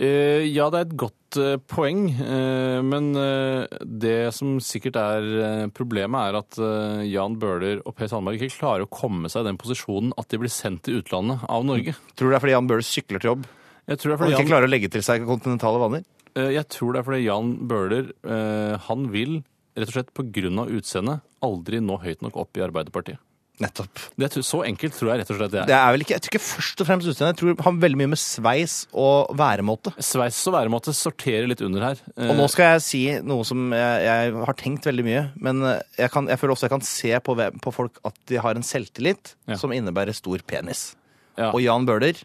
[SPEAKER 2] Eh, ja, det er et godt eh, poeng, eh, men eh, det som sikkert er eh, problemet, er at eh, Jan Bøhler og Per Sandberg ikke klarer å komme seg i den posisjonen at de blir sendt til utlandet av Norge.
[SPEAKER 3] Tror du det er fordi Jan Bøhler sykler til jobb?
[SPEAKER 2] Jeg tror det er
[SPEAKER 3] Og
[SPEAKER 2] fordi
[SPEAKER 3] ikke
[SPEAKER 2] Jan,
[SPEAKER 3] klarer å legge til seg kontinentale vaner?
[SPEAKER 2] eh, jeg tror det er fordi Jan Bøhler eh, han vil rett og slett pga. utseendet aldri nå høyt nok opp i Arbeiderpartiet.
[SPEAKER 3] Nettopp.
[SPEAKER 2] Det, er tro- så enkelt tror jeg rett og slett det er.
[SPEAKER 3] Det er vel ikke, jeg tror ikke først og fremst utseendet. Jeg tror det har veldig mye med sveis og væremåte.
[SPEAKER 2] Sveis og væremåte sorterer litt under her. Eh,
[SPEAKER 3] Og nå skal jeg si noe som jeg, jeg har tenkt veldig mye, men eh, jeg, kan, jeg føler også jeg kan se på, hvem- på folk at de har en selvtillit
[SPEAKER 2] Ja.
[SPEAKER 3] som innebærer stor penis.
[SPEAKER 2] Ja.
[SPEAKER 3] Og Jan Bøhler,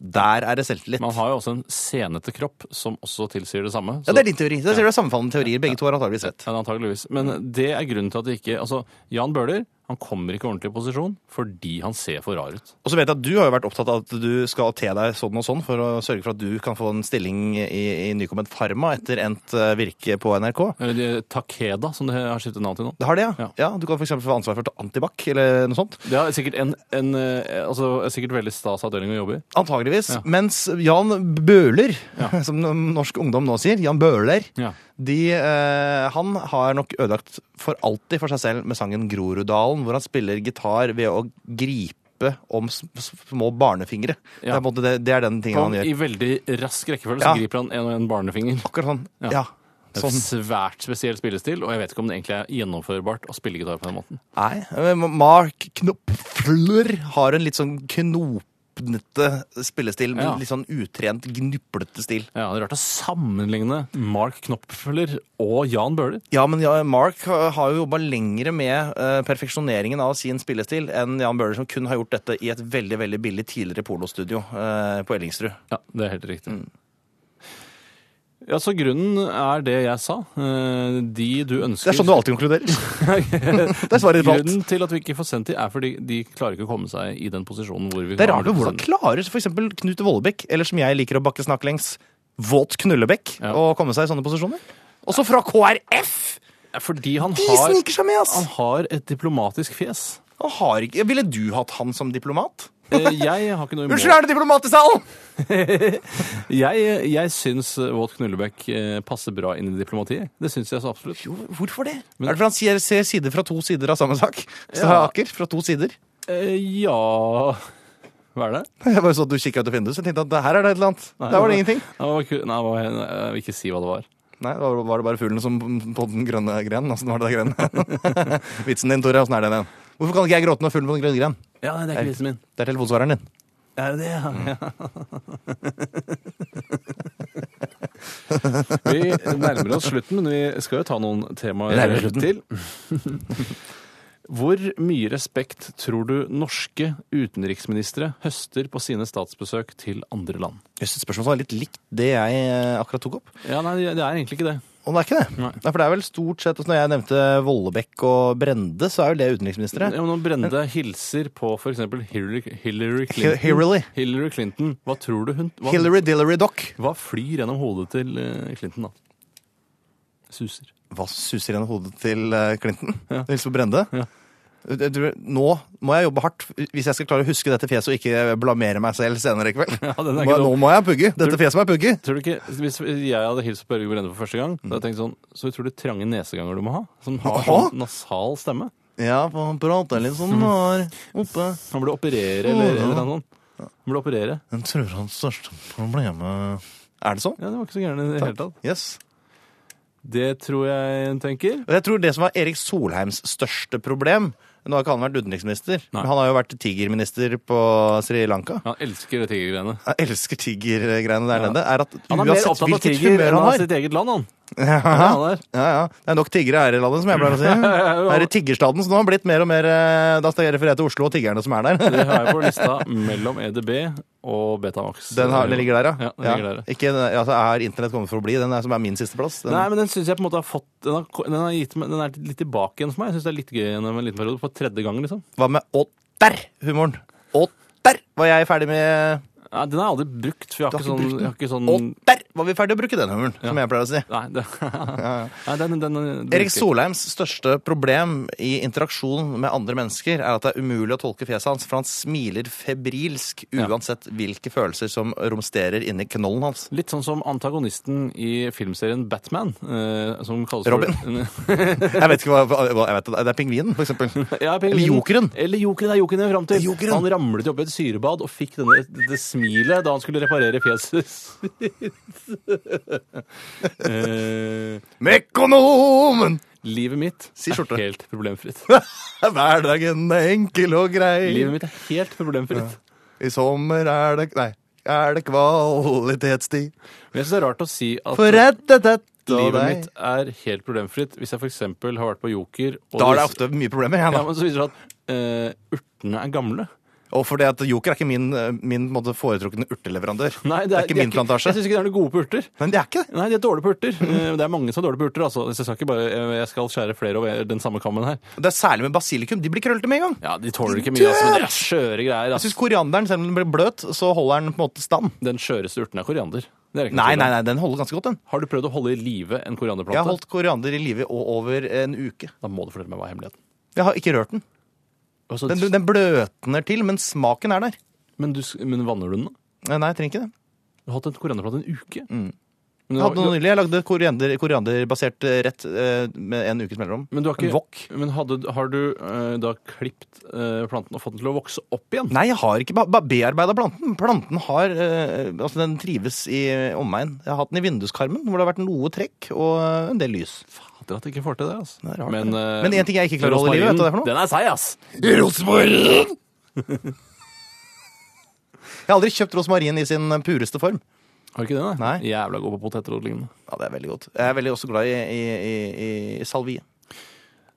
[SPEAKER 3] der er det selvtillit.
[SPEAKER 2] Man har jo også en senete kropp som også tilsier det samme.
[SPEAKER 3] Ja,
[SPEAKER 2] så-
[SPEAKER 3] Det er din teori. Der ser du sammenfallende teorier. Begge to har antageligvis rett.
[SPEAKER 2] Ja, antageligvis. Men det er grunnen til at det ikke Altså, Jan Bøhler han kommer ikke ordentlig i posisjon fordi han ser for rar ut.
[SPEAKER 3] Og så vet jeg at du har jo vært opptatt av at du skal te deg sånn og sånn for å sørge for at du kan få en stilling i, i Nykommet Pharma etter endt eh, virke på NRK.
[SPEAKER 2] Eller de- Takeda, som det har skiftet navn til nå.
[SPEAKER 3] Det har det, ja.
[SPEAKER 2] Ja.
[SPEAKER 3] ja. du kan for eksempel få ansvar for å ta antibac eller noe sånt.
[SPEAKER 2] Det er sikkert en, en eh, altså, er sikkert veldig stas avdeling å jobbe i.
[SPEAKER 3] Antageligvis.
[SPEAKER 2] Ja.
[SPEAKER 3] Mens Jan Bøhler,
[SPEAKER 2] Ja.
[SPEAKER 3] som norsk ungdom nå sier, Jan Bøhler,
[SPEAKER 2] Ja.
[SPEAKER 3] de, eh, han har nok ødelagt for alltid for seg selv med sangen Groruddalen, hvor han spiller gitar ved å gripe om s- små barnefingre. Det,
[SPEAKER 2] Ja.
[SPEAKER 3] er, på en måte det, det er den tingen han gjør.
[SPEAKER 2] I veldig rask rekkefølge
[SPEAKER 3] Ja.
[SPEAKER 2] så griper han en og en barnefinger.
[SPEAKER 3] Akkurat sånn.
[SPEAKER 2] Ja.
[SPEAKER 3] Ja.
[SPEAKER 2] Det er
[SPEAKER 3] Sånn.
[SPEAKER 2] Svært spesiell spillestil, og jeg vet ikke om det egentlig er gjennomførbart å spille gitar på den måten.
[SPEAKER 3] Nei. men Mark Knopfler har en litt sånn knopnete spillestil, med
[SPEAKER 2] Ja.
[SPEAKER 3] litt sånn utrent, gnuplete stil.
[SPEAKER 2] Ja, Det er rart å sammenligne Mark Knopfler og Jan Bøhler.
[SPEAKER 3] Ja, men ja, Mark har har jo jobba lengre med eh, perfeksjoneringen av sin spillestil enn Jan Bøhler, som kun har gjort dette i et veldig veldig billig tidligere polostudio eh, på Ellingsrud.
[SPEAKER 2] Ja, det er helt riktig. Mm. Ja, Så grunnen er det jeg sa. Eh, De du ønsker
[SPEAKER 3] sånn alltid konkluderer. det er svaret
[SPEAKER 2] Grunnen til at vi ikke får sendt de, er fordi de klarer ikke å komme seg i den posisjonen hvor vi
[SPEAKER 3] Det er
[SPEAKER 2] kan
[SPEAKER 3] rart med hvordan
[SPEAKER 2] sende.
[SPEAKER 3] klarer f.eks. Knut Vollebekk, eller som jeg liker å bakke snakk lengs, Våt Knullebekk,
[SPEAKER 2] Ja.
[SPEAKER 3] å komme seg i sånne posisjoner? Også fra KrF!
[SPEAKER 2] Ja, Fordi han
[SPEAKER 3] De
[SPEAKER 2] har,
[SPEAKER 3] sniker seg med,
[SPEAKER 2] han
[SPEAKER 3] ass!
[SPEAKER 2] har et diplomatisk fjes.
[SPEAKER 3] Han har ikke, ville du hatt han som diplomat?
[SPEAKER 2] Eh, Jeg har ikke noe imot
[SPEAKER 3] Unnskyld, er det diplomat i salen?!
[SPEAKER 2] Jeg, jeg syns Våt Knullebekk eh, passer bra inn i diplomatiet. Det syns jeg så absolutt.
[SPEAKER 3] Jo, hvorfor det? er det fordi han sier, ser sider fra to sider av samme sak?
[SPEAKER 2] Ja.
[SPEAKER 3] Saker fra to sider?
[SPEAKER 2] Eh, Ja Hva er det?
[SPEAKER 3] Jeg bare så at du kikket ut av vinduet, så jeg tenkte at det her er det et eller annet.
[SPEAKER 2] Nei,
[SPEAKER 3] Der var
[SPEAKER 2] det-
[SPEAKER 3] det ingenting.
[SPEAKER 2] Nei, det var ikke- nei, det var- jeg vil ikke si hva det var.
[SPEAKER 3] Nei, da var det bare fuglen som på den grønne grenen. Åssen var det der grenen? Vitsen din, Tore. Åssen er den igjen? Hvorfor kan ikke jeg gråte når fuglen på den grønne grenen?
[SPEAKER 2] Ja, nei, det er ikke vitsen min. Mm.
[SPEAKER 3] Det er telefonsvareren din.
[SPEAKER 2] Er det det, ja? vi nærmer oss slutten, men vi skal jo ta noen
[SPEAKER 3] Vi
[SPEAKER 2] temaer
[SPEAKER 3] nærmer oss slutten.
[SPEAKER 2] til. Hvor mye respekt tror du norske utenriksministre høster på sine statsbesøk til andre land?
[SPEAKER 3] Jøss, et spørsmål som er litt likt det jeg eh, akkurat tok opp.
[SPEAKER 2] Ja, nei, det er egentlig ikke det.
[SPEAKER 3] Og det er ikke det.
[SPEAKER 2] Nei.
[SPEAKER 3] Nei, for det er vel stort sett altså, Når jeg nevnte Vollebekk og Brende, så er jo det utenriksministre.
[SPEAKER 2] Ja, men når Brende hilser på for eksempel Hillary, Hillary
[SPEAKER 3] Hi-
[SPEAKER 2] Clinton
[SPEAKER 3] Hillary.
[SPEAKER 2] Hillary Clinton, hva tror du hun Hva,
[SPEAKER 3] Hillary Dillery Dock.
[SPEAKER 2] hva flyr gjennom hodet til eh, Clinton, da? Suser.
[SPEAKER 3] Hva suser gjennom hodet til eh, Clinton?
[SPEAKER 2] Ja.
[SPEAKER 3] Hils på Brende.
[SPEAKER 2] Ja.
[SPEAKER 3] Jeg tror- Nå må jeg jobbe hardt hvis jeg skal klare å huske dette fjeset og ikke blamere meg selv senere i kveld.
[SPEAKER 2] Ja, den er
[SPEAKER 3] Må-
[SPEAKER 2] ikke dum.
[SPEAKER 3] nå må jeg pugge. Dette fjeset må jeg pugge.
[SPEAKER 2] Tror du ikke, Hvis jeg hadde hilst på Børge Brende for første gang, så hadde jeg
[SPEAKER 3] Mm.
[SPEAKER 2] tenkt sånn Så utrolig trange neseganger du må ha, som har
[SPEAKER 3] Jaha.
[SPEAKER 2] sånn nasal stemme.
[SPEAKER 3] Ja, for han prater litt
[SPEAKER 2] Mm.
[SPEAKER 3] sånn her oppe.
[SPEAKER 2] Han burde operere, eller, eller noe sånt. Han burde operere.
[SPEAKER 3] Jeg tror hans største problemet Er det sånn?
[SPEAKER 2] Ja, det var ikke så gærent i det hele tatt.
[SPEAKER 3] Yes.
[SPEAKER 2] Det tror jeg en tenker.
[SPEAKER 3] Og jeg tror det som var Erik Solheims største problem Nå har ikke han vært utenriksminister,
[SPEAKER 2] Nei.
[SPEAKER 3] men han har jo vært tigerminister på Sri Lanka.
[SPEAKER 2] Han elsker det tigergreiene.
[SPEAKER 3] Jeg elsker tigergreiene der nede. Er at
[SPEAKER 2] Han er mer
[SPEAKER 3] uansett
[SPEAKER 2] opptatt av
[SPEAKER 3] hvilket
[SPEAKER 2] tiger
[SPEAKER 3] humør
[SPEAKER 2] enn
[SPEAKER 3] han
[SPEAKER 2] av
[SPEAKER 3] har
[SPEAKER 2] sitt eget land, han.
[SPEAKER 3] Ja,
[SPEAKER 2] han er.
[SPEAKER 3] ja, ja. Det er nok tiggere her i landet, som jeg pleier å si. Her i tiggerstaden, så nå har han blitt mer og mer eh, Da skal jeg referere til Oslo og tiggerne som er der.
[SPEAKER 2] Det har jeg på lista mellom EDB og Betamax.
[SPEAKER 3] Den, har, den ligger der, ja.
[SPEAKER 2] Ja, den ligger der.
[SPEAKER 3] Ikke, altså, er internett kommet for å bli? Den er, som er min sisteplass. Den-
[SPEAKER 2] Nei, men den synes jeg på en måte har fått Den, har, den, har gitt, meg- den er litt tilbake igjen for meg. Jeg synes det er litt gøy igjen om en liten periode. På tredje gang, liksom.
[SPEAKER 3] Hva med å der-humoren? Å der var jeg ferdig med
[SPEAKER 2] Nei, den har jeg aldri brukt, for jeg har ikke
[SPEAKER 3] Du har ikke
[SPEAKER 2] sånn,
[SPEAKER 3] brukt
[SPEAKER 2] jeg har ikke sånn
[SPEAKER 3] Å der var vi ferdig å bruke den humoren, som jeg pleier å si.
[SPEAKER 2] Nei, det, nei den, den, den, den
[SPEAKER 3] Erik Solheims største problem i interaksjon med andre mennesker er at det er umulig å tolke fjeset hans, for han smiler febrilsk
[SPEAKER 2] Ja.
[SPEAKER 3] uansett hvilke følelser som romsterer inni knollen hans.
[SPEAKER 2] Litt sånn som antagonisten i filmserien Batman, eh, som kalles
[SPEAKER 3] Robin.
[SPEAKER 2] For,
[SPEAKER 3] Jeg vet ikke hva, hva jeg vet, Det er pingvinen, for eksempel.
[SPEAKER 2] ja, pingvinen.
[SPEAKER 3] Eller jokeren.
[SPEAKER 2] Eller jokeren er jokeren jeg er fram til.
[SPEAKER 3] Jokeren.
[SPEAKER 2] Han ramlet jo opp i et syrebad og fikk denne, det smilet da han skulle reparere fjeset sitt. Eh,
[SPEAKER 3] Mekonomen!
[SPEAKER 2] livet mitt
[SPEAKER 3] Si skjorte.
[SPEAKER 2] er helt problemfritt.
[SPEAKER 3] Hverdagen er enkel og grei.
[SPEAKER 2] Livet mitt er helt problemfritt.
[SPEAKER 3] I sommer er det Nei, er det kvalitetstid.
[SPEAKER 2] Men jeg synes det er rart å si at
[SPEAKER 3] For rett og slett og
[SPEAKER 2] livet
[SPEAKER 3] deg.
[SPEAKER 2] mitt er helt problemfritt hvis jeg for eksempel har vært på Joker og
[SPEAKER 3] Da er det
[SPEAKER 2] det-
[SPEAKER 3] ofte mye problemer. Jeg,
[SPEAKER 2] ja,
[SPEAKER 3] da.
[SPEAKER 2] men så viser det seg at eh, urtene er gamle.
[SPEAKER 3] Og fordi at Joker er ikke min, eh, min på en måte, foretrukne urteleverandør.
[SPEAKER 2] Nei,
[SPEAKER 3] det, er ikke
[SPEAKER 2] de
[SPEAKER 3] min plantasje.
[SPEAKER 2] Jeg syns ikke det er noe gode på urter.
[SPEAKER 3] Men det er ikke det.
[SPEAKER 2] Nei, de er dårlige på urter. Eh, Det er mange som er dårlige på urter. altså. Så Jeg skal, ikke bare, eh, jeg skal skjære flere over den samme kammen her.
[SPEAKER 3] Det er særlig med basilikum. De blir krøllete med en gang.
[SPEAKER 2] Ja, De tåler ikke mye, altså, men det er skjøre greier.
[SPEAKER 3] Jeg
[SPEAKER 2] Altså.
[SPEAKER 3] synes korianderen, selv om den blir bløt, så holder den på en måte stand.
[SPEAKER 2] Den skjøreste urten er koriander. Det er ikke noe tvil
[SPEAKER 3] Nei,
[SPEAKER 2] om.
[SPEAKER 3] nei, nei, den holder ganske godt, den.
[SPEAKER 2] Har du prøvd å holde i live en
[SPEAKER 3] Jeg
[SPEAKER 2] korianderplante?
[SPEAKER 3] har holdt koriander i live o- over en uke.
[SPEAKER 2] Da må du fortelle meg hva er hemmeligheten
[SPEAKER 3] Jeg har ikke rørt den.
[SPEAKER 2] Altså,
[SPEAKER 3] Den, den bløtner til, men smaken er der.
[SPEAKER 2] men, du, s- men vanner du den, da?
[SPEAKER 3] Nei, Nei, jeg trenger ikke det.
[SPEAKER 2] Du har hatt en korianderplante en uke? Men,
[SPEAKER 3] Jeg
[SPEAKER 2] du, har-
[SPEAKER 3] Mm. hadde noe nylig. Jeg lagde koriander, korianderbasert eh, rett eh, med en ukes mellomrom.
[SPEAKER 2] men du har
[SPEAKER 3] En
[SPEAKER 2] ikke
[SPEAKER 3] wok.
[SPEAKER 2] Men hadde, har du eh, da klippet eh, planten og fått den til å vokse opp igjen?
[SPEAKER 3] Nei, jeg har ikke ba- ba- bearbeida planten. Planten har eh, Altså, den trives i omegn. Jeg har hatt den i vinduskarmen, hvor det har vært noe trekk og eh, en del lys.
[SPEAKER 2] Fader at jeg ikke får til det, altså.
[SPEAKER 3] Det er rart,
[SPEAKER 2] men
[SPEAKER 3] det.
[SPEAKER 2] eh,
[SPEAKER 3] Men en ting jeg ikke klarer å holde i livet, vet du hva det er for noe?
[SPEAKER 2] Den er seig, ass!
[SPEAKER 3] Rosmarin! Jeg har aldri kjøpt rosmarin i sin pureste form.
[SPEAKER 2] Har du ikke det, da?
[SPEAKER 3] Nei.
[SPEAKER 2] Jævla god på poteter og lignende.
[SPEAKER 3] Ja, det er veldig godt. Jeg er veldig også glad i, i, i, i salvie.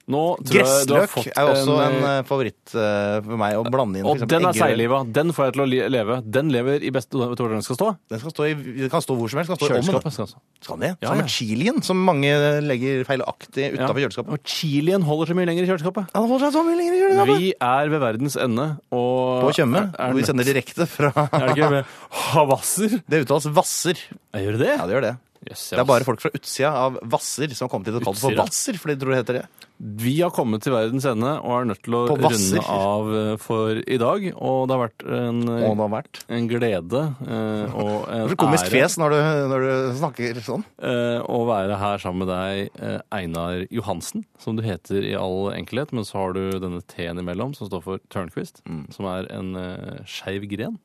[SPEAKER 2] Nå tror jeg du har
[SPEAKER 3] Gressløk
[SPEAKER 2] fått
[SPEAKER 3] er jo også en,
[SPEAKER 2] en
[SPEAKER 3] eh, favoritt eh, for meg å blande inn. for
[SPEAKER 2] og
[SPEAKER 3] eksempel
[SPEAKER 2] den er
[SPEAKER 3] eggerøre.
[SPEAKER 2] seigliva. Den får jeg til å li- leve. Den lever i beste Vet du hvor den skal stå?
[SPEAKER 3] Den skal stå i, den kan stå hvor som helst. Den kan stå i ovnen.
[SPEAKER 2] Kjøleskapet. skal den stå.
[SPEAKER 3] Skal den det?
[SPEAKER 2] Ja,
[SPEAKER 3] Sammen
[SPEAKER 2] ja.
[SPEAKER 3] med chilien, som mange legger feilaktig
[SPEAKER 2] Ja.
[SPEAKER 3] utafor kjøleskapet.
[SPEAKER 2] Og chilien holder så mye lenger i kjøleskapet.
[SPEAKER 3] Ja, det holder seg så mye lenger i kjøleskapet.
[SPEAKER 2] Vi er ved verdens ende, og
[SPEAKER 3] På Tjøme,
[SPEAKER 2] Er,
[SPEAKER 3] hvor vi
[SPEAKER 2] er,
[SPEAKER 3] sender direkte fra
[SPEAKER 2] er det ikke med havasser?
[SPEAKER 3] Det uttales Hvasser.
[SPEAKER 2] Jeg gjør det?
[SPEAKER 3] Ja, det gjør det.
[SPEAKER 2] Yes,
[SPEAKER 3] Det er bare folk fra utsida av Hvasser som har kommet hit og kalt det for
[SPEAKER 2] Utsira?
[SPEAKER 3] Hvasser, fordi de tror det heter det.
[SPEAKER 2] Vi har kommet til verdens ende og er nødt til å
[SPEAKER 3] På vasser.
[SPEAKER 2] runde av eh, for i dag. Og det har vært en, eh,
[SPEAKER 3] Og det har vært.
[SPEAKER 2] en glede eh, og
[SPEAKER 3] Det
[SPEAKER 2] en
[SPEAKER 3] blir komisk
[SPEAKER 2] ære
[SPEAKER 3] fjes når du, når du snakker sånn.
[SPEAKER 2] eh, å være her sammen med deg, eh, Einar Johansen, som du heter i all enkelhet. Men så har du denne T-en imellom, som står for Tørnquist, som er en eh, skeiv gren.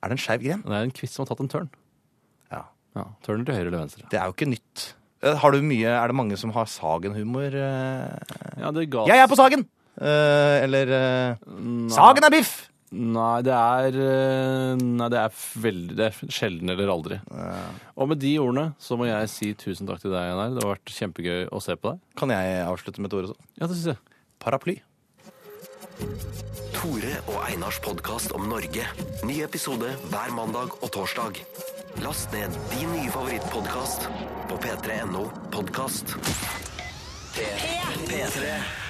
[SPEAKER 3] Er det en skeiv gren?
[SPEAKER 2] Det er en kvist som har tatt en tørn.
[SPEAKER 3] Ja.
[SPEAKER 2] Ja, Tørner til høyre eller venstre.
[SPEAKER 3] Det er jo ikke nytt. Eh, Har du mye, er det mange som har Sagen-humor? eh?
[SPEAKER 2] Ja, det ga...
[SPEAKER 3] Jeg er på Sagen! Eh, eller eh, Sagen er biff!
[SPEAKER 2] Nei, det er eh, Nei, det er veldig Det er sjelden eller aldri. Og med de ordene så må jeg si tusen takk til deg, Einar. Det har vært kjempegøy å se på deg.
[SPEAKER 3] Kan jeg avslutte med et ord også?
[SPEAKER 2] Ja, det synes jeg.
[SPEAKER 3] Paraply.
[SPEAKER 1] Tore og Einars podkast om Norge. Ny episode hver mandag og torsdag. Last ned din nye favorittpodkast på p3.no podkast. P3. P3.